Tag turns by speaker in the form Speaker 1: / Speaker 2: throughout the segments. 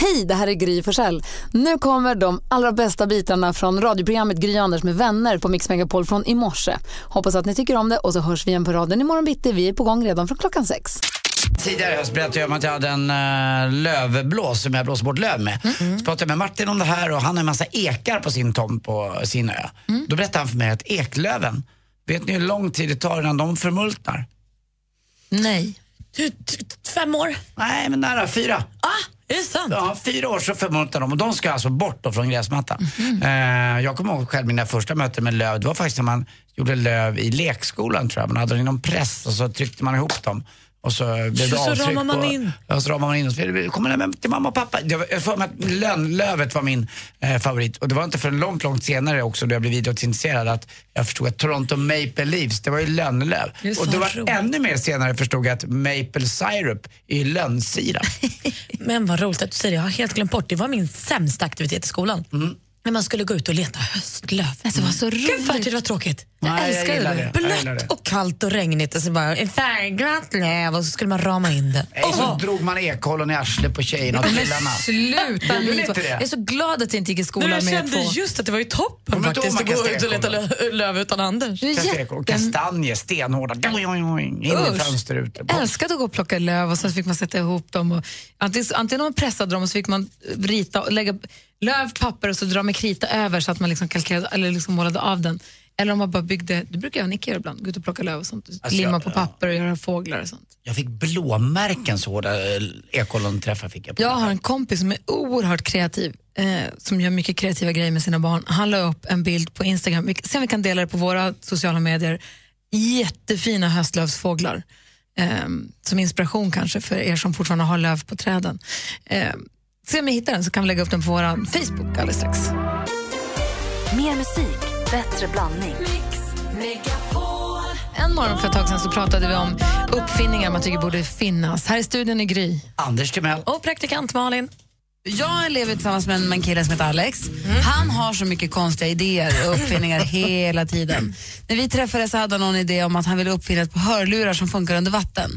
Speaker 1: Hej, det här är Gry Forssell. Nu kommer de allra bästa bitarna från radioprogrammet Gry Anders med vänner på Mix Megapol från i morse. Hoppas att ni tycker om det och så hörs vi igen på raden imorgon bitti. Vi är på gång redan från klockan sex.
Speaker 2: Tidigare i höst berättade jag om att jag hade en eh, lövblås som jag blåser bort löv med.
Speaker 3: Mm.
Speaker 2: Så pratade jag med Martin om det här och han har en massa ekar på sin tomt på sin ö.
Speaker 3: Mm.
Speaker 2: Då berättade han för mig att eklöven, vet ni hur lång tid det tar innan de förmultnar?
Speaker 4: Nej.
Speaker 3: Fem år?
Speaker 2: Nej, men nära fyra.
Speaker 3: Ah, Är det sant?
Speaker 2: Ja, fyra år så förmultnar de och de ska alltså bort då från gräsmattan.
Speaker 3: Mhm.
Speaker 2: Eh, jag kommer ihåg själv mina första möten med löv, det var faktiskt när man gjorde löv i lekskolan tror jag. Man hade den i någon press och så tryckte man ihop dem. Och så blev
Speaker 3: Så
Speaker 2: det avtryck
Speaker 3: ramar man
Speaker 2: på,
Speaker 3: in.
Speaker 2: Ja, så ramar man in och så blev det- kommer den hem till mamma och pappa. Jag jag får mig att lön, lövet var min eh, favorit. Och det var inte förrän långt, långt senare också då jag blev idrottsintresserad att jag förstod att Toronto Maple Leaves, det var ju lönnlöv.
Speaker 3: Det är så
Speaker 2: Och det var
Speaker 3: roligt.
Speaker 2: ännu mer senare förstod jag att Maple Syrup är lönnsirap.
Speaker 3: Men vad roligt att du säger det. Jag har helt glömt bort. Det var min sämsta aktivitet i skolan.
Speaker 2: Mm.
Speaker 3: När man skulle gå ut och leta höstlöv. Mm.
Speaker 4: Alltså vad så
Speaker 3: Gud vad
Speaker 4: roligt.
Speaker 3: det var tråkigt.
Speaker 2: Nej, jag
Speaker 4: älskar
Speaker 2: gillar
Speaker 4: det.
Speaker 2: Jag gillar det.
Speaker 3: Blött och kallt och regnigt och så bara en färgglatt löv och så skulle man rama in det.
Speaker 2: Nej, Eh, så
Speaker 3: Åh,
Speaker 2: drog man ekollon i arslet på tjejerna och
Speaker 4: Men
Speaker 2: killarna.
Speaker 4: sluta
Speaker 2: Gjorde ni
Speaker 4: Lito.
Speaker 2: inte det?
Speaker 4: Jag är så glad att jag inte gick i
Speaker 3: Nej,
Speaker 4: skolan
Speaker 3: jag
Speaker 4: med er två.
Speaker 3: kände just att det var ju toppen
Speaker 2: Kommer inte
Speaker 3: faktiskt
Speaker 2: ihåg
Speaker 3: att gå
Speaker 2: Mackan
Speaker 3: ut och leta lö- löv utan Anders.
Speaker 4: Du är
Speaker 2: Kasta ekolon.
Speaker 4: jätte...
Speaker 2: Kastanjer, stenhårda. Doing, doing, doing. In i
Speaker 4: Usch.
Speaker 2: fönsterrutor.
Speaker 4: Jag älskade att gå och plocka löv och sen fick man sätta ihop dem. Och, antingen, antingen man pressade dem och så fick man rita och lägga löv, papper och så dra med krita över så att man liksom kalkerade, eller liksom målade av den. Eller om man bara byggde, det brukar jag och Nicky göra ibland, gå ut och plocka löv och sånt.
Speaker 2: Alltså,
Speaker 4: Limma
Speaker 2: jag-
Speaker 4: på papper och göra fåglar och sånt.
Speaker 2: Jag fick blåmärken så hårda eh, ekollon-träffar fick jag. På
Speaker 4: Jag
Speaker 2: mig.
Speaker 4: har en kompis som är oerhört kreativ, eh, som gör mycket kreativa grejer med sina barn. Han la upp en bild på Instagram, vi, sen vi kan dela det på våra sociala medier, jättefina höstlövsfåglar. Eh, som inspiration kanske för er som fortfarande har löv på träden. Eh, se om vi hittar den så kan vi lägga upp den på vår Facebook alldeles strax.
Speaker 5: Mer musik, bättre blandning.
Speaker 4: En morgon för ett tag sedan så pratade vi om uppfinningar man tycker borde finnas. Här i studion är Gry.
Speaker 2: Anders Timell.
Speaker 3: Och praktikant Malin.
Speaker 6: Jag lever tillsammans med en, med en kille som heter Alex.
Speaker 3: Mm.
Speaker 6: Han har så mycket konstiga idéer och uppfinningar hela tiden. När vi träffades så hade han någon idé om att han ville uppfinna ett par hörlurar som funkar under vatten.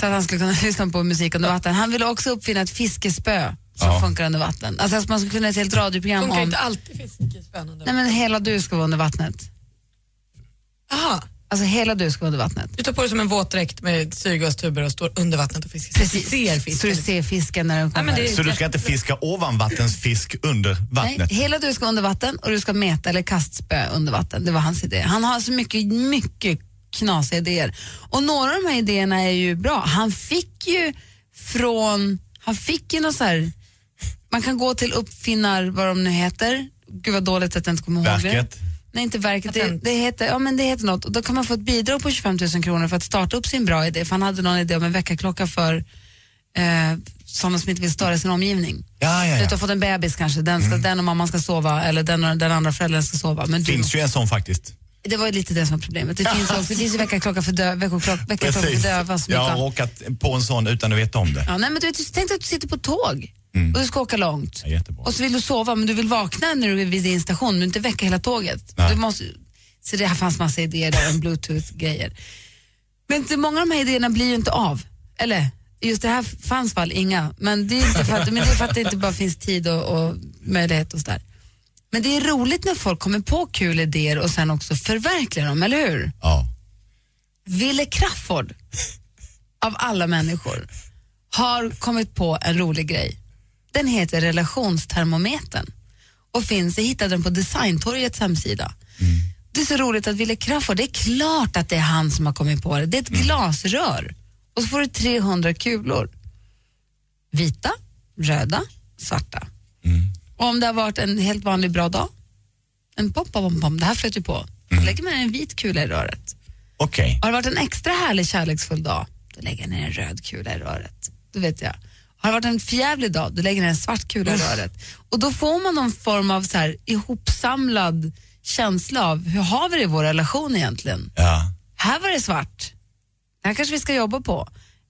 Speaker 6: så att han skulle kunna lyssna på musik under vatten. Han ville också uppfinna ett fiskespö som funkar under vatten. Alltså att man skulle kunna ha ett helt radioprogram
Speaker 3: Funkar
Speaker 6: om...
Speaker 3: inte alltid fiskespännande.
Speaker 6: Nej men hela du ska vara under vattnet.
Speaker 3: Aha,
Speaker 6: Alltså hela du ska vara under vattnet.
Speaker 3: du tar på dig som en våtdräkt med syrgastuber och står under vattnet och fiskar.
Speaker 6: Precis.
Speaker 3: Ser fisken.
Speaker 6: Så du ser fisken när den
Speaker 3: Ja,
Speaker 6: kommer.
Speaker 3: men det är
Speaker 7: Så du ska inte fiska ovanvattensfisk under
Speaker 6: Nej,
Speaker 7: vattnet?
Speaker 6: hela du ska under vatten och du ska meta eller kastspö under vatten. Det var hans idé. Han har så mycket, mycket knasiga idéer. Och några av de här idéerna är ju bra. Han fick ju från, han fick ju något så här, man kan gå till uppfinnar, vad de nu heter. Gud vad dåligt att jag inte kommer ihåg det.
Speaker 7: Verket?
Speaker 6: Nej, inte verket. Det,
Speaker 3: Patent.
Speaker 6: det, heter, ja, men det heter något. Och då kan man få ett bidrag på 25 000 kronor för att starta upp sin bra idé. För han hade någon idé om en väckarklocka för eh, sådana som inte vill störa sin omgivning.
Speaker 7: Ja, ja,
Speaker 6: Du har
Speaker 7: ja.
Speaker 6: fått en bebis kanske, den,
Speaker 7: Mm.
Speaker 6: ska, den och mamman ska sova eller den och den andra föräldern ska sova. Men du,
Speaker 7: Finns ju en sån faktiskt.
Speaker 6: det var ju lite det som var problemet. Det finns, också, det finns ju väckarklocka för, dö, väckarklocka, väckarklocka för
Speaker 7: Precis.
Speaker 6: döva. som
Speaker 7: Jag
Speaker 6: inte
Speaker 7: har
Speaker 6: har-
Speaker 7: råkat på en sån utan att veta om det.
Speaker 6: Ja, nej, men du vet, tänk dig att du sitter på tåg och du ska åka långt.
Speaker 7: Mm. Ja, jättebra.
Speaker 6: och så vill du sova men du vill vakna när du är vid din station men inte väcka hela tåget.
Speaker 7: Nej.
Speaker 6: Du måste, så det här fanns massa idéer där om bluetooth-grejer. Men inte många av de här idéerna blir ju inte av. Eller? Just det här fanns väl inga, men det är inte för att, men det, är för att det inte bara finns tid och, och möjlighet och sådär. Men det är roligt när folk kommer på kul idéer och sen också förverkligar dem, eller hur?
Speaker 7: Ja.
Speaker 6: Ville Crafoord, av alla människor, har kommit på en rolig grej. Den heter relationstermometern och finns, jag hittade den på designtorgets hemsida. Det är så roligt att Ville Crafoord, det är klart att det är han som har kommit på det. Det är ett glasrör och så får du 300 kulor. Vita, röda, svarta. Och om det har varit en helt vanlig bra dag, en pom, pom, pom, pom, det här flöt ju på. Då lägger man en vit kula i röret.
Speaker 7: Okej.
Speaker 6: Har det varit en extra härlig kärleksfull dag, då lägger jag ner en röd kula i röret. Då vet jag. Har det varit en förjävlig dag, då lägger jag ner en svart kula i röret. Och då får man någon form av så här ihopsamlad känsla av hur har vi det i vår relation egentligen?
Speaker 7: Ja.
Speaker 6: Här var det svart. Det här kanske vi ska jobba på.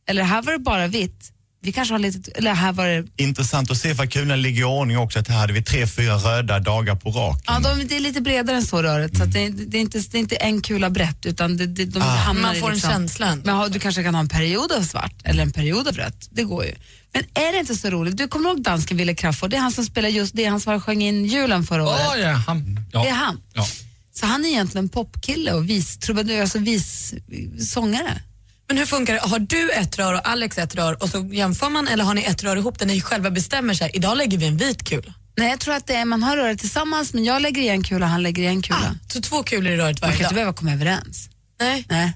Speaker 6: Eller här var det bara vitt. Vi kanske har lite, eller här var det,
Speaker 7: Intressant att se för kulan ligger i ordning också. Att här hade vi tre, fyra röda dagar på raken.
Speaker 6: ja, de, det är lite bredare än så röret. Så att det, det, är inte, det är inte en kula brett utan det, det,
Speaker 3: Ah.
Speaker 6: de hamnar
Speaker 3: Man
Speaker 6: i
Speaker 3: får en
Speaker 6: liksom,
Speaker 3: känsla ändå.
Speaker 6: Men har, du kanske kan ha en period av svart eller en period av rött. Det går ju. Men är det inte så roligt? Du kommer ihåg dansken Wille Crafoord? Det är han som spelar just det, han som sjöng in julen förra året.
Speaker 8: ja, han. Ja.
Speaker 6: Det är han.
Speaker 8: Ja.
Speaker 6: Så han är egentligen popkille och vis, trubadur, alltså vis, sångare.
Speaker 3: Men hur funkar det? Har du ett rör och Alex ett rör och så jämför man eller har ni ett rör ihop där ni själva bestämmer sig? Idag lägger vi en vit kula.
Speaker 6: Nej, jag tror att det är, man har röret tillsammans men jag lägger i en kula och han lägger i en kula.
Speaker 3: Ah, Så två kulor i röret varje
Speaker 6: man kan inte
Speaker 3: dag?
Speaker 6: behöva komma överens.
Speaker 3: Nej.
Speaker 6: Nej.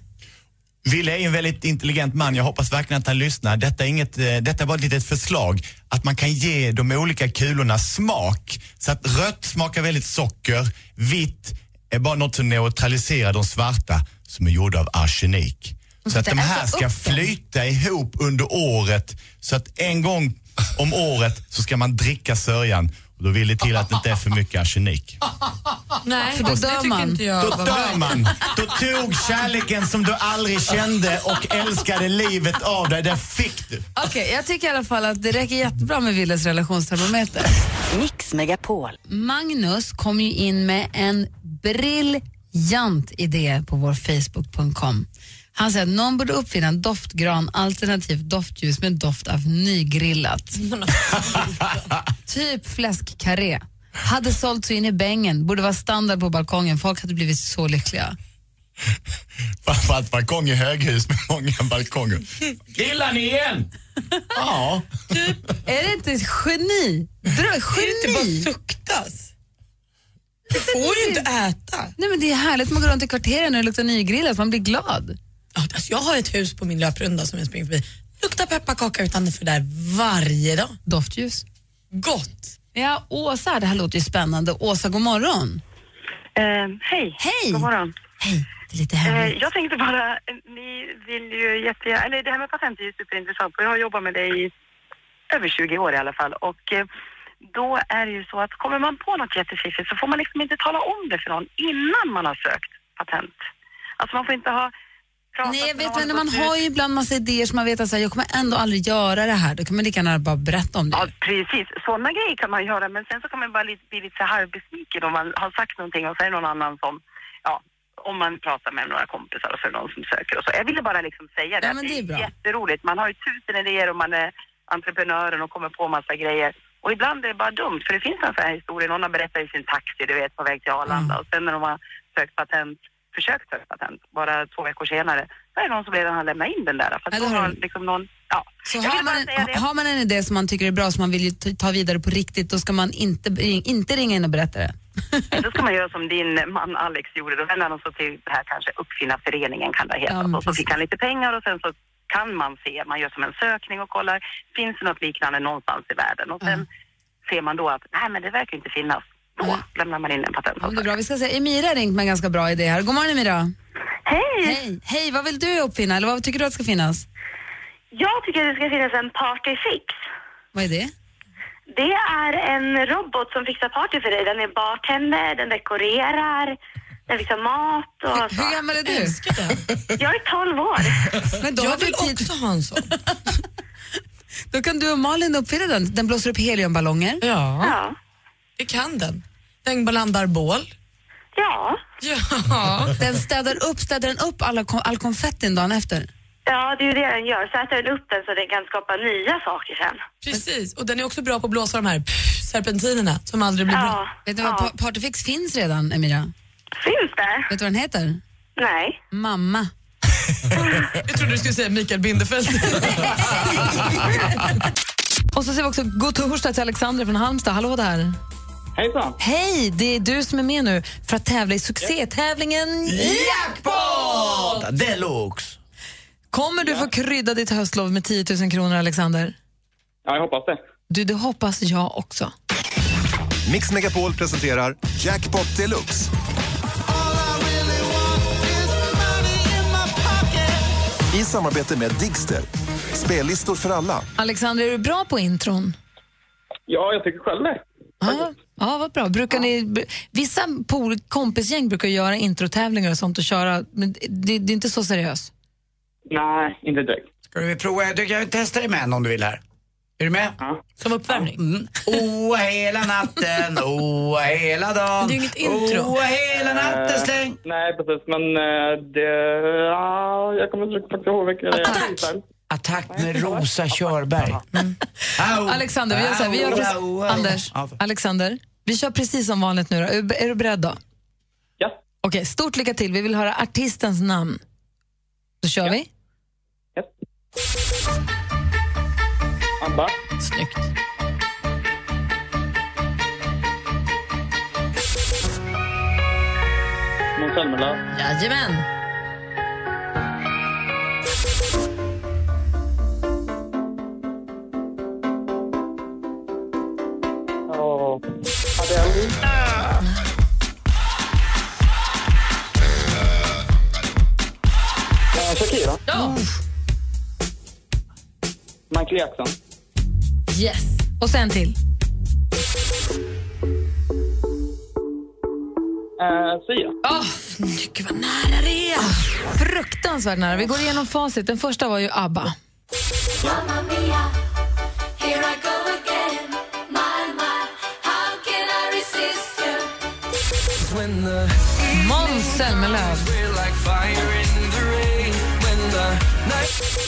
Speaker 7: Wille är ju en väldigt intelligent man. Jag hoppas verkligen att han lyssnar. Detta är, inget, eh, detta är bara ett litet förslag. Att man kan ge de olika kulorna smak. Så att rött smakar väldigt socker, vitt är bara något som neutraliserar de svarta som är gjorda av arsenik. Så att de här ska flyta ihop under året. Så att en gång om året så ska man dricka sörjan. Och då vill det till att det inte är för mycket arsenik.
Speaker 3: Nej,
Speaker 6: För då dör
Speaker 3: det tycker
Speaker 6: man.
Speaker 3: inte jag
Speaker 7: Då
Speaker 3: var
Speaker 7: dör
Speaker 3: bra.
Speaker 7: man. Då tog kärleken som du aldrig kände och älskade livet av dig, det fick du.
Speaker 6: Okej, jag tycker i alla fall att det räcker jättebra med Willes relationstermometer.
Speaker 5: Mix Megapol.
Speaker 6: Magnus kom ju in med en briljant idé på vår Facebook.com. Han säger att någon borde uppfinna en doftgran alternativt doftljus med doft av nygrillat. typ fläskkarré. Hade sålt så in i bängen, borde vara standard på balkongen. Folk hade blivit så lyckliga.
Speaker 7: Framförallt balkong i höghus med många balkonger. Grillar ni igen? Ja.
Speaker 6: Är det inte ett geni? Drö-
Speaker 3: Det är
Speaker 6: geni?
Speaker 3: inte bara suktas. Du får ju inte äta.
Speaker 6: Nej, men det är härligt, man går runt i kvarteren och det luktar nygrillat, man blir glad.
Speaker 3: Ja, Alltså, jag har ett hus på min löprunda som jag springer förbi. Luktar pepparkaka utanför där varje dag.
Speaker 6: Doftljus.
Speaker 3: Gott!
Speaker 6: Ja, Åsa, det här låter ju spännande. Åsa, god morgon.
Speaker 9: Eh, hej.
Speaker 6: Hej.
Speaker 9: God morgon.
Speaker 6: Hej, det är lite
Speaker 9: Eh,
Speaker 6: hemligt.
Speaker 9: jag tänkte bara, eh, ni vill ju jättegärna, eller det här med patent är ju superintressant och jag har jobbat med det i över 20 år i alla fall och eh, då är det ju så att kommer man på något jättefiffigt så får man liksom inte tala om det för någon innan man har sökt patent. Alltså man får inte ha pratat
Speaker 6: Nej,
Speaker 9: med
Speaker 6: jag vet
Speaker 9: någon
Speaker 6: men när man
Speaker 9: gått
Speaker 6: har
Speaker 9: ut-
Speaker 6: ju ibland massa idéer som man vet att så här, jag kommer ändå aldrig göra det här, då kan man lika gärna bara berätta om det.
Speaker 9: Ja, precis. Sådana grejer kan man göra, men sen så kan man bara lite, bli lite så här halvbesviken om man har sagt någonting och så är det någon annan som, ja, om man pratar med några kompisar och så är det någon som söker och så. Jag ville bara liksom säga det.
Speaker 6: Ja,
Speaker 9: att
Speaker 6: men det är bra.
Speaker 9: jätteroligt. Man har ju tusen idéer och man är entreprenören och kommer på massa grejer. Och ibland är det bara dumt, för det finns en sån här historia. Någon har berättat i sin taxi, du vet, på väg till Arlanda och sen när de har sökt patent, försökt söka patent, bara två veckor senare, då är det någon som redan har lämnat in den där. För att då
Speaker 6: Eller
Speaker 9: har
Speaker 6: hur?
Speaker 9: liksom någon, ja.
Speaker 6: Så
Speaker 9: Jag
Speaker 6: har
Speaker 9: ville
Speaker 6: man,
Speaker 9: bara
Speaker 6: en,
Speaker 9: säga det.
Speaker 6: ha- har man en idé som man tycker är bra som man vill ju ta- ta vidare på riktigt, då ska man inte, ring- inte ringa in och berätta det.
Speaker 9: Nej, Då ska man göra som din man Alex gjorde. Då vände han sig till det här kanske Uppfinnarföreningen kan det heta.
Speaker 6: Ja, men
Speaker 9: och så fick
Speaker 6: precis.
Speaker 9: han lite pengar och sen så kan man se, man gör som en sökning och kollar, finns det något liknande någonstans i världen? Och sen ser man då att, nej men det verkar inte finnas. Då lämnar man in en
Speaker 6: Ja, men det är
Speaker 9: patentansökan.
Speaker 6: bra. Vi ska se, Emira har ringt med en ganska bra idé här. God morgon Emira.
Speaker 10: Hej!
Speaker 6: Hej, Hej vad vill du uppfinna eller vad tycker du att ska finnas?
Speaker 10: Jag tycker att det ska finnas en partyfix.
Speaker 6: Vad är det?
Speaker 10: Det är en robot som fixar party för dig. Den är bartender, den dekorerar, den fixar mat och allt
Speaker 6: Hur gammal är du?
Speaker 10: Jag är 12 år.
Speaker 6: Men då
Speaker 10: Jag
Speaker 6: har vi
Speaker 10: vill
Speaker 6: tid. också ha en sån. då kan du och Malin uppfinna den. Den blåser upp heliumballonger.
Speaker 3: Ja. Det kan den. Den blandar bål.
Speaker 10: Ja.
Speaker 3: Ja.
Speaker 6: Den städar upp, städar den upp alla, kon- all konfettin dagen efter?
Speaker 10: Ja, det är ju det den gör. Så äter den upp den så den kan skapa nya saker sen.
Speaker 3: Precis, och den är också bra på att blåsa de här pff, serpentinerna som aldrig blir bra.
Speaker 6: Vet du vad, pa- Partyfix finns redan, Emira.
Speaker 10: Finns det?
Speaker 6: Vet du vad den heter?
Speaker 10: Nej.
Speaker 6: Mamma.
Speaker 3: Jag trodde du skulle säga Mikael Bindefeld.
Speaker 6: Och så säger vi också god torsdag till Alexander från Halmstad. Hallå där.
Speaker 11: Hejsan!
Speaker 6: Hej, det är du som är med nu för att tävla i succétävlingen
Speaker 11: Jackpot!
Speaker 2: Deluxe!
Speaker 6: Kommer du få krydda ditt höstlov med 10 000 kronor, Alexander?
Speaker 11: Ja, jag hoppas det.
Speaker 6: Du, det hoppas jag också.
Speaker 12: Mix Megapol presenterar Jackpot Deluxe. I samarbete med Digster. Spellistor för alla.
Speaker 6: Alexander, är du bra på intron?
Speaker 11: Ja, jag tycker själv det.
Speaker 6: Ja, ja vad bra. Brukar ni, br- vissa pol, kompisgäng brukar göra introtävlingar och sånt och köra, men det, det är inte så seriöst.
Speaker 13: Nej, inte direkt.
Speaker 2: Ska du prova? Du kan ju testa dig med en om du vill här. Är du med?
Speaker 3: Som uppvärmning?
Speaker 2: Mm. Oh, hela natten, oh, hela dagen.
Speaker 3: Det är ju inget intro.
Speaker 2: Oh, hela natten, släng.
Speaker 13: nej, precis. Men eh, det... ja, jag kommer inte faktiskt ihåg vilken det är.
Speaker 2: Attack med Rosa Körberg. Mm. Au,
Speaker 6: Alexander, vi gör så här, vi gör
Speaker 2: au,
Speaker 6: precis,
Speaker 2: au, au.
Speaker 6: Anders,
Speaker 2: Ja,
Speaker 6: Alexander, vi kör precis som vanligt nu. Då. Är, du- är du beredd då? Ja. Okej, stort lycka till. Vi vill höra artistens namn. Då kör vi.
Speaker 13: Abba.
Speaker 3: Snyggt.
Speaker 13: Måns Zelmerlöw.
Speaker 3: Jajamän.
Speaker 13: Ja. Adele. Eh, Shakira.
Speaker 3: Ja.
Speaker 13: Michael Jackson.
Speaker 6: Yes. Och sen till.
Speaker 13: Eh, Sia.
Speaker 6: Oh, snyggt, vad nära det är. fruktansvärt nära. Vi går igenom facit. Den första var ju ABBA.
Speaker 14: Mamma mia, here I go again. My, my, how can I resist you?
Speaker 6: Måns Zelmerlöw.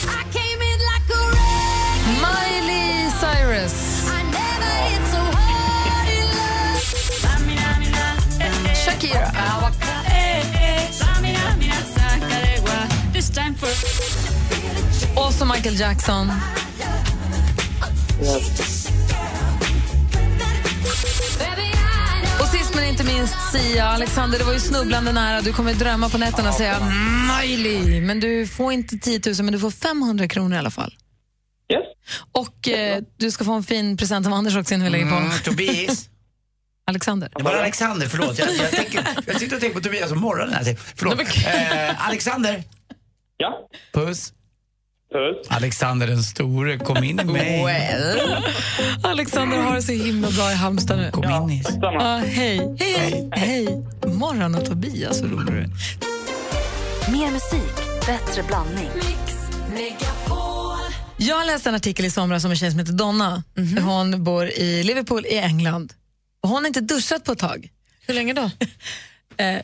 Speaker 14: I came in like a wreck.
Speaker 6: Miley Cyrus.
Speaker 14: I never hit so hard in love.
Speaker 6: Shakira. Och så Michael Jackson. Och sist men inte minst Sia. Alexander, det var ju snubblande nära. Du kommer drömma på nätterna och säga Miley. Men du får inte 10 000, men du får 500 kronor i alla fall. Och eh, du ska få en fin present av Anders också innan vi lägger på.
Speaker 2: Mm, Tobias.
Speaker 6: Alexander.
Speaker 2: Det var Alexander, förlåt. Jag, jag, tänker, jag sitter och tänker på Tobias om morgonen. Här. Förlåt. Eh, Alexander.
Speaker 13: Ja?
Speaker 2: Puss.
Speaker 13: Puss.
Speaker 2: Alexander den store, kom in i mig.
Speaker 6: Alexander har det så himla bra i Halmstad nu.
Speaker 2: Kom in i...
Speaker 6: Ja, hej. Hej. Hej. Morgon och Tobias, så rolig du är.
Speaker 15: Mer musik, bättre blandning.
Speaker 6: Jag läste en artikel i somras om en tjej som heter Donna.
Speaker 2: Mhm.
Speaker 6: Hon bor i Liverpool i England. Och hon har inte duschat på ett tag.
Speaker 3: Hur länge då?
Speaker 6: Eh,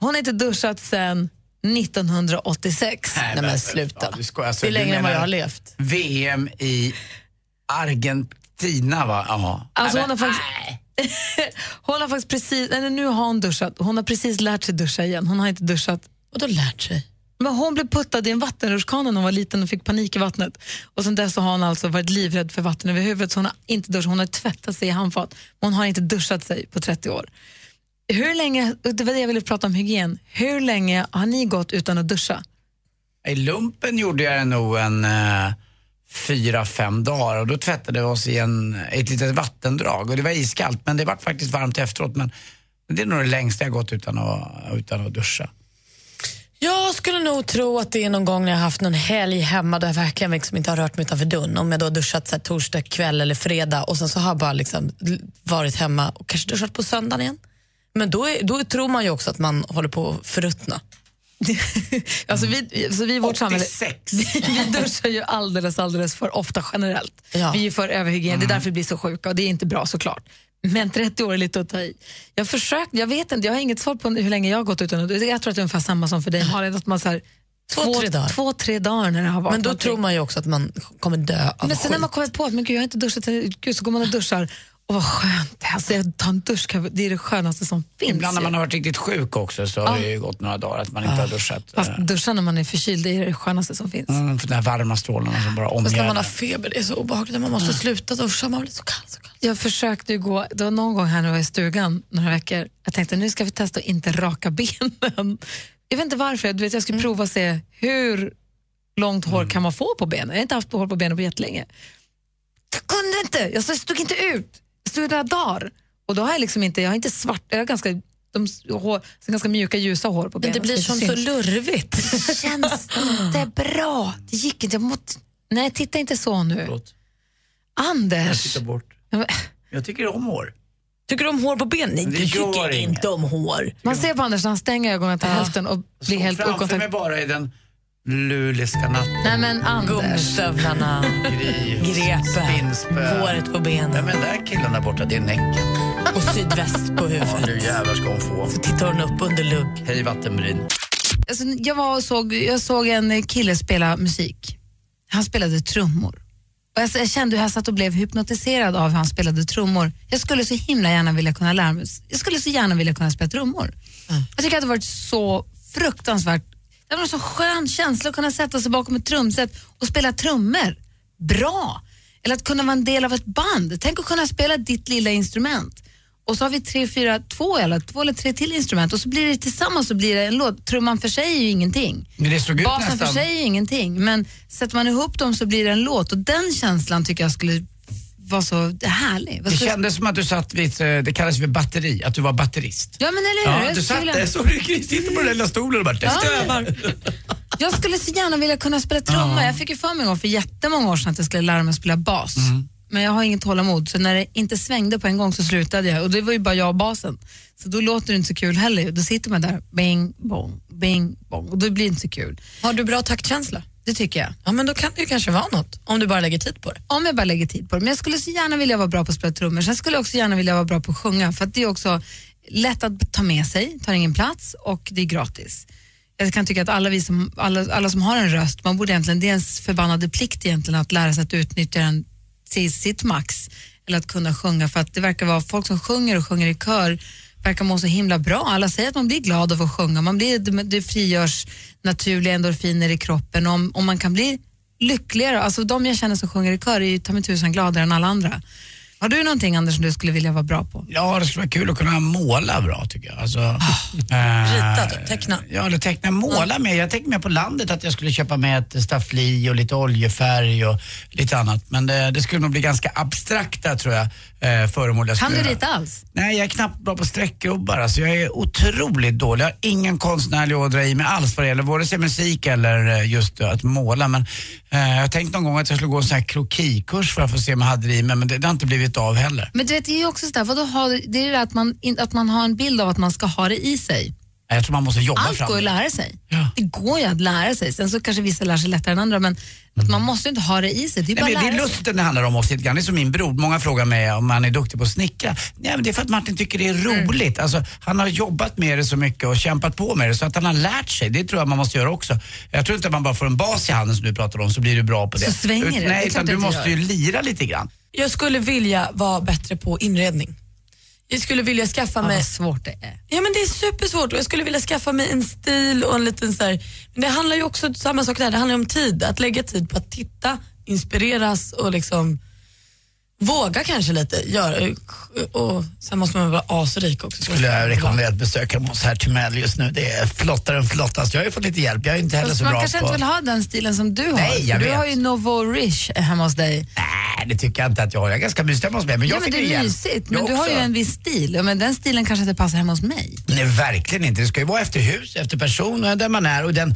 Speaker 6: hon har inte duschat sedan 1986. Nej, men
Speaker 2: Ja,
Speaker 6: sluta.
Speaker 2: du skojar. Alltså,
Speaker 6: Det är
Speaker 2: du
Speaker 6: längre än vad
Speaker 2: menar
Speaker 6: jag har levt.
Speaker 2: VM i Argentina, va? Ja.
Speaker 6: Alltså
Speaker 2: Nej,
Speaker 6: hon har
Speaker 2: men-
Speaker 6: faktiskt... hon har faktiskt precis... Nej, nu har hon duschat. Hon har precis lärt sig duscha igen. Hon har inte duschat.
Speaker 3: Och då lärt sig?
Speaker 6: Men hon blev puttad i en vattenrutschkana när hon var liten och fick panik i vattnet. Och sen dess så har hon alltså varit livrädd för vatten över huvudet så hon har inte duschat. Hon har tvättat sig i handfat. Men Hon har inte duschat sig på 30 år. Hur länge, och det var det jag ville prata om hygien. Hur länge har ni gått utan att duscha?
Speaker 2: I lumpen gjorde jag det nog en eh, fyra, fem dagar och då tvättade vi oss i en, ett litet vattendrag och det var iskallt men det var faktiskt varmt efteråt. Men det är nog det längsta jag gått utan att, utan att duscha.
Speaker 3: Jag skulle nog tro att det är någon gång när jag har haft någon helg hemma där jag verkligen liksom inte har rört mig utanför dörren. Om jag då har duschat så här, torsdag kväll eller fredag och sen så har jag bara liksom l- varit hemma och kanske duschat på söndagen igen. Men då, är, då tror man ju också att man håller på att förruttna.
Speaker 6: alltså vi, så vi i vårt samhälle,
Speaker 2: 86.
Speaker 6: vi duschar ju alldeles, alldeles för ofta generellt. Vi är ju för överhygien,
Speaker 3: Mm.
Speaker 6: det är därför vi blir så sjuka och det är inte bra såklart. Men 30 år är lite att ta i. Jag försökt, jag vet inte, jag har inget svar på hur länge jag har gått utan att Jag tror att det är ungefär samma som för dig Malin, att man så här,
Speaker 3: Två, tre dagar.
Speaker 6: Två, tre dagar när det har varit
Speaker 3: Men då
Speaker 6: någonting.
Speaker 3: tror man ju också att man kommer dö av
Speaker 6: Men sen när
Speaker 3: skit.
Speaker 6: man kommer på att men gud, jag har inte duschat, gud, så går man och duschar och vad skönt det är. Alltså, jag tar en dusch, det är det skönaste som finns.
Speaker 2: Ibland när
Speaker 6: ju.
Speaker 2: man har varit riktigt sjuk också så har det ju gått några dagar att man inte har duschat.
Speaker 6: Ah. Fast duscha när man är förkyld, det är det skönaste som finns.
Speaker 2: Mm, för de här varma strålarna som bara
Speaker 3: Fast när
Speaker 2: omger
Speaker 3: man har
Speaker 2: en.
Speaker 3: feber, det är så obehagligt. Man måste sluta duscha, man blir så kall. Så kall.
Speaker 6: Jag försökte ju gå, det var någon gång här när jag var i stugan några veckor, jag tänkte nu ska vi testa att inte raka benen. Jag vet inte varför, du vet, jag skulle prova och se hur långt hår kan man få på benen. Jag har inte haft hår på benen på jättelänge. Jag kunde inte, jag stod inte ut. Jag stod några dagar. Och då har jag liksom inte, jag har inte svart, jag har ganska, de, s- hår, så ganska mjuka ljusa hår på benen.
Speaker 3: det blir
Speaker 6: som
Speaker 3: som
Speaker 6: inte
Speaker 3: så
Speaker 6: syns.
Speaker 3: lurvigt.
Speaker 6: Det känns inte bra. Det gick inte, jag mått, nej titta inte så nu.
Speaker 2: Jag
Speaker 6: Anders!
Speaker 2: tittar bort.
Speaker 6: Ja, men-
Speaker 2: Jag tycker om hår.
Speaker 3: Tycker du om hår på ben? Nej,
Speaker 2: Det
Speaker 3: du
Speaker 2: gör
Speaker 3: tycker
Speaker 2: inget.
Speaker 3: inte om hår.
Speaker 6: Man ser på Anders när han stänger ögonen till hälften och blir helt
Speaker 2: framför mig
Speaker 6: okontaktbar.
Speaker 2: bara i den Luleska natten.
Speaker 6: Nej men Anders.
Speaker 3: Gummistövlarna, grepet, håret på benen.
Speaker 2: Nej men där killen där borta, det är näcken.
Speaker 3: Och sydväst på huvudet.
Speaker 2: Ja, nu jävlar ska hon få.
Speaker 3: Så tittar hon upp under lugg.
Speaker 2: Hej vattenbryn.
Speaker 6: Alltså, jag, var och såg, jag såg en kille spela musik. Han spelade trummor. Och jag, jag kände hur jag satt och blev hypnotiserad av hur han spelade trummor. Jag skulle så himla gärna vilja kunna lära mig. Jag skulle så gärna vilja kunna spela trummor. Jag tycker att det har varit så fruktansvärt. Det var en så skön känsla att kunna sätta sig bakom ett trumset och spela trummor. Bra! Eller att kunna vara en del av ett band. Tänk att kunna spela ditt lilla instrument. Och så har vi tre, fyra, två eller, två eller tre till instrument och så blir det tillsammans så blir det en låt. Trumman för sig är ju ingenting.
Speaker 2: Men det såg ut
Speaker 6: Basen
Speaker 2: nästan-
Speaker 6: för sig är ingenting. Men sätter man ihop dem så blir det en låt och den känslan tycker jag skulle vara så härlig. Vad
Speaker 2: Det
Speaker 6: skulle-
Speaker 2: kändes som att du satt vid, ett, eh, det kallas för batteri, att du var batterist.
Speaker 6: Ja men eller hur?
Speaker 2: Ja,
Speaker 6: Jag
Speaker 2: du
Speaker 6: skulle
Speaker 2: satt
Speaker 6: vilja-
Speaker 2: där, såg du Chris sitta på den där lilla stolen och bara
Speaker 6: Ja.
Speaker 2: stövar.
Speaker 6: Jag skulle så gärna vilja kunna spela trumma. Jag fick ju för mig en gång för jättemånga år sedan att jag skulle lära mig att spela bas. Men jag har inget tålamod så när det inte svängde på en gång så slutade jag och det var ju bara jag och basen. Så då låter det inte så kul heller. Då sitter man där, bing, bong, bing, bong och då blir det inte så kul.
Speaker 3: Har du bra taktkänsla?
Speaker 6: Det tycker jag.
Speaker 3: Ja, men då kan det ju kanske vara något, om du bara lägger tid på det.
Speaker 6: Om jag bara lägger tid på det. Men jag skulle så gärna vilja vara bra på att spela trummor. Sen skulle jag också gärna vilja vara bra på att sjunga för att det är också lätt att ta med sig, tar ingen plats och det är gratis. Jag kan tycka att alla, vi som, alla, alla som har en röst, man borde egentligen, det är ens förbannade plikt egentligen att lära sig att utnyttja den till sitt max eller att kunna sjunga för att det verkar vara folk som sjunger och sjunger i kör verkar må så himla bra. Alla säger att man blir glad av att sjunga, man blir, det- det frigörs naturliga endorfiner i kroppen om, om man kan bli lyckligare. Alltså de jag känner som sjunger i kör är ju ta mig tusan gladare än alla andra. Har du någonting Anders som du skulle vilja vara bra på?
Speaker 2: Ja, det skulle vara kul att kunna måla bra tycker jag. Alltså, eh,
Speaker 3: Rita typ, teckna.
Speaker 2: Ja, eller teckna, måla med. Jag tänkte mer på landet att jag skulle köpa med ett staffli och lite oljefärg och lite annat. Men det, det skulle nog bli ganska abstrakta tror jag, eh, föremål jag
Speaker 6: Kan
Speaker 2: skulle
Speaker 6: du
Speaker 2: göra.
Speaker 6: rita alls?
Speaker 2: Nej, jag är knappt bra på streckgubbar. Alltså, jag är otroligt dålig. Jag har ingen konstnärlig ådra i mig alls vad det gäller vare sig musik eller eh, just eh, att måla. Men, eh, jag tänkte någon gång att jag skulle gå en sån här krokikurs för att få se om jag hade det i mig, men det, det har inte blivit av heller.
Speaker 6: Men du vet, det är ju också sådär, vadå, har, det är ju det att man, in- att man har en bild av att man ska ha det i sig.
Speaker 2: Nej, Jag tror man måste jobba
Speaker 6: Allt
Speaker 2: fram
Speaker 6: går ju att
Speaker 2: det.
Speaker 6: lära sig. Det går ju att lära sig. Sen så kanske vissa lär sig lättare än andra, men att man måste ju inte ha det i sig. Det är bara
Speaker 2: Mm. Nej,
Speaker 6: att
Speaker 2: men det är
Speaker 6: lära sig.
Speaker 2: lusten det handlar om också lite grann. Det är som min bror, många frågar mig om han är duktig på att snickra. Nej men det är för att Martin tycker det är
Speaker 6: Mm.
Speaker 2: roligt. Alltså, han har jobbat med det så mycket och kämpat på med det så att han har lärt sig. Det tror jag man måste göra också. Jag tror inte att man bara får en bas i handen som du pratar om så blir du bra på det.
Speaker 6: Så svänger det.
Speaker 2: Ut-
Speaker 6: Det är
Speaker 2: Nej,
Speaker 6: klart
Speaker 2: utan
Speaker 6: det
Speaker 2: du
Speaker 6: inte
Speaker 2: måste ju
Speaker 6: gör.
Speaker 2: lira lite grann.
Speaker 3: Jag skulle vilja vara bättre på inredning. Jag skulle vilja skaffa
Speaker 6: Ja,
Speaker 3: mig...
Speaker 6: vad svårt det är.
Speaker 3: Ja men det är supersvårt och jag skulle vilja skaffa mig en stil och en liten så här, men det handlar ju också samma sak där, det handlar ju om tid, att lägga tid på att titta, inspireras och liksom våga kanske lite. Gör, och sen måste man vara asrik också.
Speaker 2: Skulle jag rekommendera att besöka Måns Hertimell just nu. Det är flottare än flottast. Jag har ju fått lite hjälp. Jag är inte heller
Speaker 6: Fast
Speaker 2: så
Speaker 6: man
Speaker 2: bra
Speaker 6: kanske
Speaker 2: på...
Speaker 6: inte vill ha den stilen som du har.
Speaker 2: Nej, jag
Speaker 6: För du
Speaker 2: vet.
Speaker 6: har ju Novo Rich hemma hos dig.
Speaker 2: Nej, det tycker jag inte att jag har. Jag är ganska mysig hemma hos mig. Men jag
Speaker 6: ja, men
Speaker 2: fick
Speaker 6: det är
Speaker 2: ju hjälp.
Speaker 6: mysigt,
Speaker 2: Jag
Speaker 6: men du har ju
Speaker 2: också.
Speaker 6: en viss stil. Ja, men den stilen kanske inte passar hemma hos mig.
Speaker 2: Nej, verkligen inte. Det ska ju vara efter hus, efter person, och där man är och den,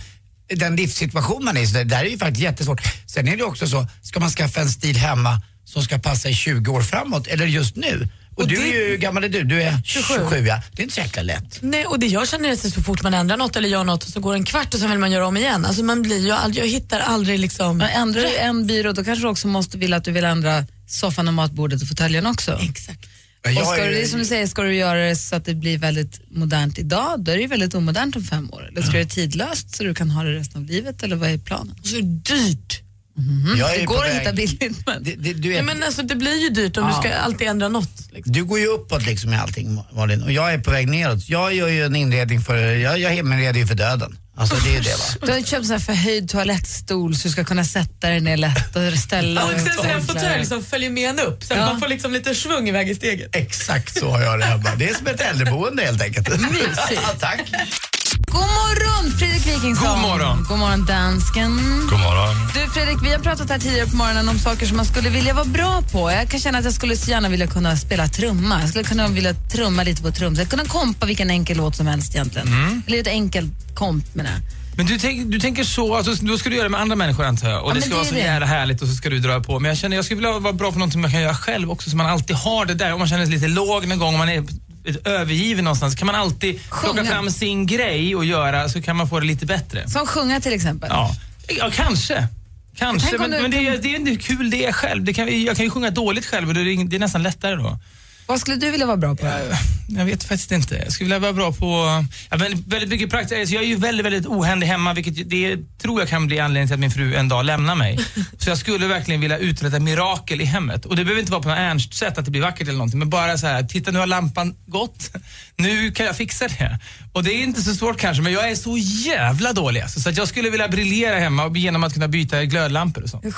Speaker 2: den livssituation man är i. Så det där är ju faktiskt jättesvårt. Sen är det också så, ska man skaffa en stil hemma som ska passa i 20 år framåt eller just nu? Och, du är ju, hur gammal är du? Du är 27, ja. Det är inte så jäkla lätt.
Speaker 3: Nej, och det jag känner är att så fort man ändrar något eller gör något och så går det en kvart och sen vill man göra om igen. Alltså man blir ju aldrig, jag hittar aldrig liksom...
Speaker 6: Men ändrar du en byrå då kanske du också måste vilja att du vill ändra soffan och matbordet och fåtöljen också.
Speaker 3: Exakt.
Speaker 2: Men jag
Speaker 6: Och ska
Speaker 2: är-
Speaker 6: du, det är som du säger, ska du göra det så att det blir väldigt modernt idag, då är det ju väldigt omodernt om fem år. Eller ska du göra det tidlöst så du kan ha det resten av livet, eller vad är planen?
Speaker 3: Och så är det dyrt.
Speaker 2: Jag är
Speaker 6: det
Speaker 2: ju på
Speaker 6: går att
Speaker 2: väg-
Speaker 6: hitta billigt, men...
Speaker 2: Det, det, du,
Speaker 3: Nej,
Speaker 2: är,
Speaker 3: men alltså det blir ju dyrt om
Speaker 2: Ja.
Speaker 3: du ska alltid ändra något. Liksom.
Speaker 2: du går ju uppåt liksom i allting Malin och jag är på väg neråt. Jag gör ju en inredning för, jag, jag inreder ju för döden. Alltså det är ju det va.
Speaker 6: Du har ju köpt en sån här förhöjd toalettstol så du ska kunna sätta dig ner lätt och ställa
Speaker 3: Och sen så är det en
Speaker 6: torkar.
Speaker 3: fåtölj som liksom, följer med en upp så att
Speaker 6: Ja.
Speaker 3: man får liksom lite svung iväg i steget.
Speaker 2: Exakt så har jag det hemma. Det är som ett äldreboende helt enkelt. Ja, Tack.
Speaker 6: God morgon Fredrik Wikingsson!
Speaker 16: God morgon.
Speaker 6: God morgon dansken!
Speaker 16: God morgon.
Speaker 6: Du Fredrik, vi har pratat här tidigare på morgonen om saker som man skulle vilja vara bra på. Jag kan känna att jag skulle så gärna vilja kunna spela trumma. Jag skulle kunna vilja trumma lite på trumset. Jag kunna kompa vilken enkel låt som helst egentligen.
Speaker 16: Mm.
Speaker 6: Eller ett enkelt komp menar jag.
Speaker 16: Men du, tänk, du tänker så, alltså, då ska du göra det med andra människor antar jag. Och
Speaker 6: Ja,
Speaker 16: det
Speaker 6: men
Speaker 16: ska
Speaker 6: det
Speaker 16: vara
Speaker 6: är
Speaker 16: så
Speaker 6: det.
Speaker 16: jävla härligt och så ska du dra på. Men jag känner jag skulle vilja vara bra på någonting man kan göra själv också så man alltid har det där. Om man känner sig lite låg någon gång, om man är
Speaker 7: övergiven någonstans kan man alltid plocka
Speaker 6: Sjunga.
Speaker 7: fram sin grej och göra så kan man få det lite bättre.
Speaker 6: Som sjunga till exempel.
Speaker 7: Ja, ja kanske. Kanske,
Speaker 6: Tänk om
Speaker 7: men,
Speaker 6: du-
Speaker 7: men det, är- det är inte hur kul det är själv. Det kan, jag kan ju sjunga dåligt själv och det är, ing- det är nästan lättare då.
Speaker 6: Vad skulle du vilja vara bra på?
Speaker 7: Jag vet faktiskt inte. Jag eh, skulle vilja vara bra på... Ja, men väldigt mycket praktiskt. Alltså, jag är ju väldigt, väldigt ohändig hemma vilket ju- det tror jag kan bli anledningen till att min fru en dag lämnar mig. Så jag skulle verkligen vilja uträtta mirakel i hemmet. Och det behöver inte vara på något ernst sätt att det blir vackert eller någonting. Men bara så här, titta nu har lampan gått. Nu kan jag fixa det. Och det är inte så svårt kanske men jag är så jävla dålig alltså, Så att jag skulle vilja briljera hemma genom att kunna byta glödlampor och sånt.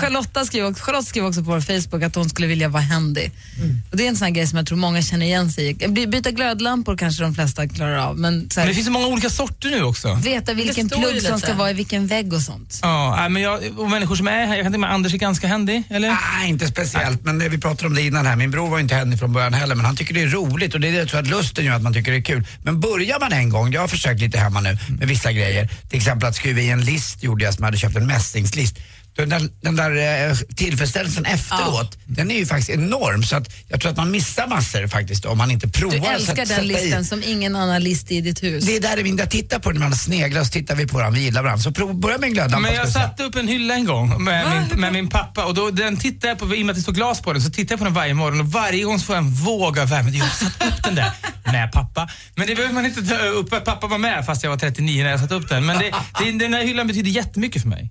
Speaker 6: Charlotta skrev också, Charlotte skrev också på vår Facebook att hon skulle vilja vara händig.
Speaker 3: Mm.
Speaker 6: Och det är en sån här grej som jag tror många känner igen sig i. By- Byta glödlampor kanske de flesta klarar av, men, så här,
Speaker 7: Men det finns så många olika sorter nu också.
Speaker 6: veta vilken
Speaker 3: Det står ju
Speaker 6: plugg
Speaker 3: lite
Speaker 6: som ska
Speaker 3: så.
Speaker 6: vara i vilken vägg och sånt.
Speaker 7: Ja, nej, men jag, och människor som är här, jag kan tänka mig att Anders är ganska händig, eller?
Speaker 2: Nej, inte speciellt. Men det, vi pratade om det innan här. Min bror var inte händig från början heller, men han tycker det är roligt och det är det jag tror att lusten gör att man tycker det är kul. Men börjar man en gång, jag har försökt lite hemma nu med vissa grejer, till exempel att skruva i en list gjorde jag som hade köpt en mässingslist. Den där, den där eh, tillfredsställelsen efteråt, den är ju faktiskt enorm så att jag tror att man missar massor faktiskt om man inte provar.
Speaker 6: Du
Speaker 2: så att
Speaker 6: älskar
Speaker 2: sätta
Speaker 6: den
Speaker 2: i.
Speaker 6: listan som ingen annan list i ditt hus.
Speaker 2: Det är där vi jag tittar på den, man sneglar och så tittar vi på den, vi gillar varandra. Så prov, börja med en glödlampa.
Speaker 7: Men
Speaker 2: ska
Speaker 7: jag
Speaker 2: vi säga.
Speaker 7: satte upp en hylla en gång med, min, med min pappa och då, den tittade jag på, i och med att det stod glas på den, så tittade jag på den varje morgon och varje gång så får jag en våg av värme. Jag har satt upp den där. Nej pappa. Men det behöver man inte ta upp, pappa var med fast jag var 39 när jag satte upp den. Men det, det, den här hyllan betyder jättemycket för mig.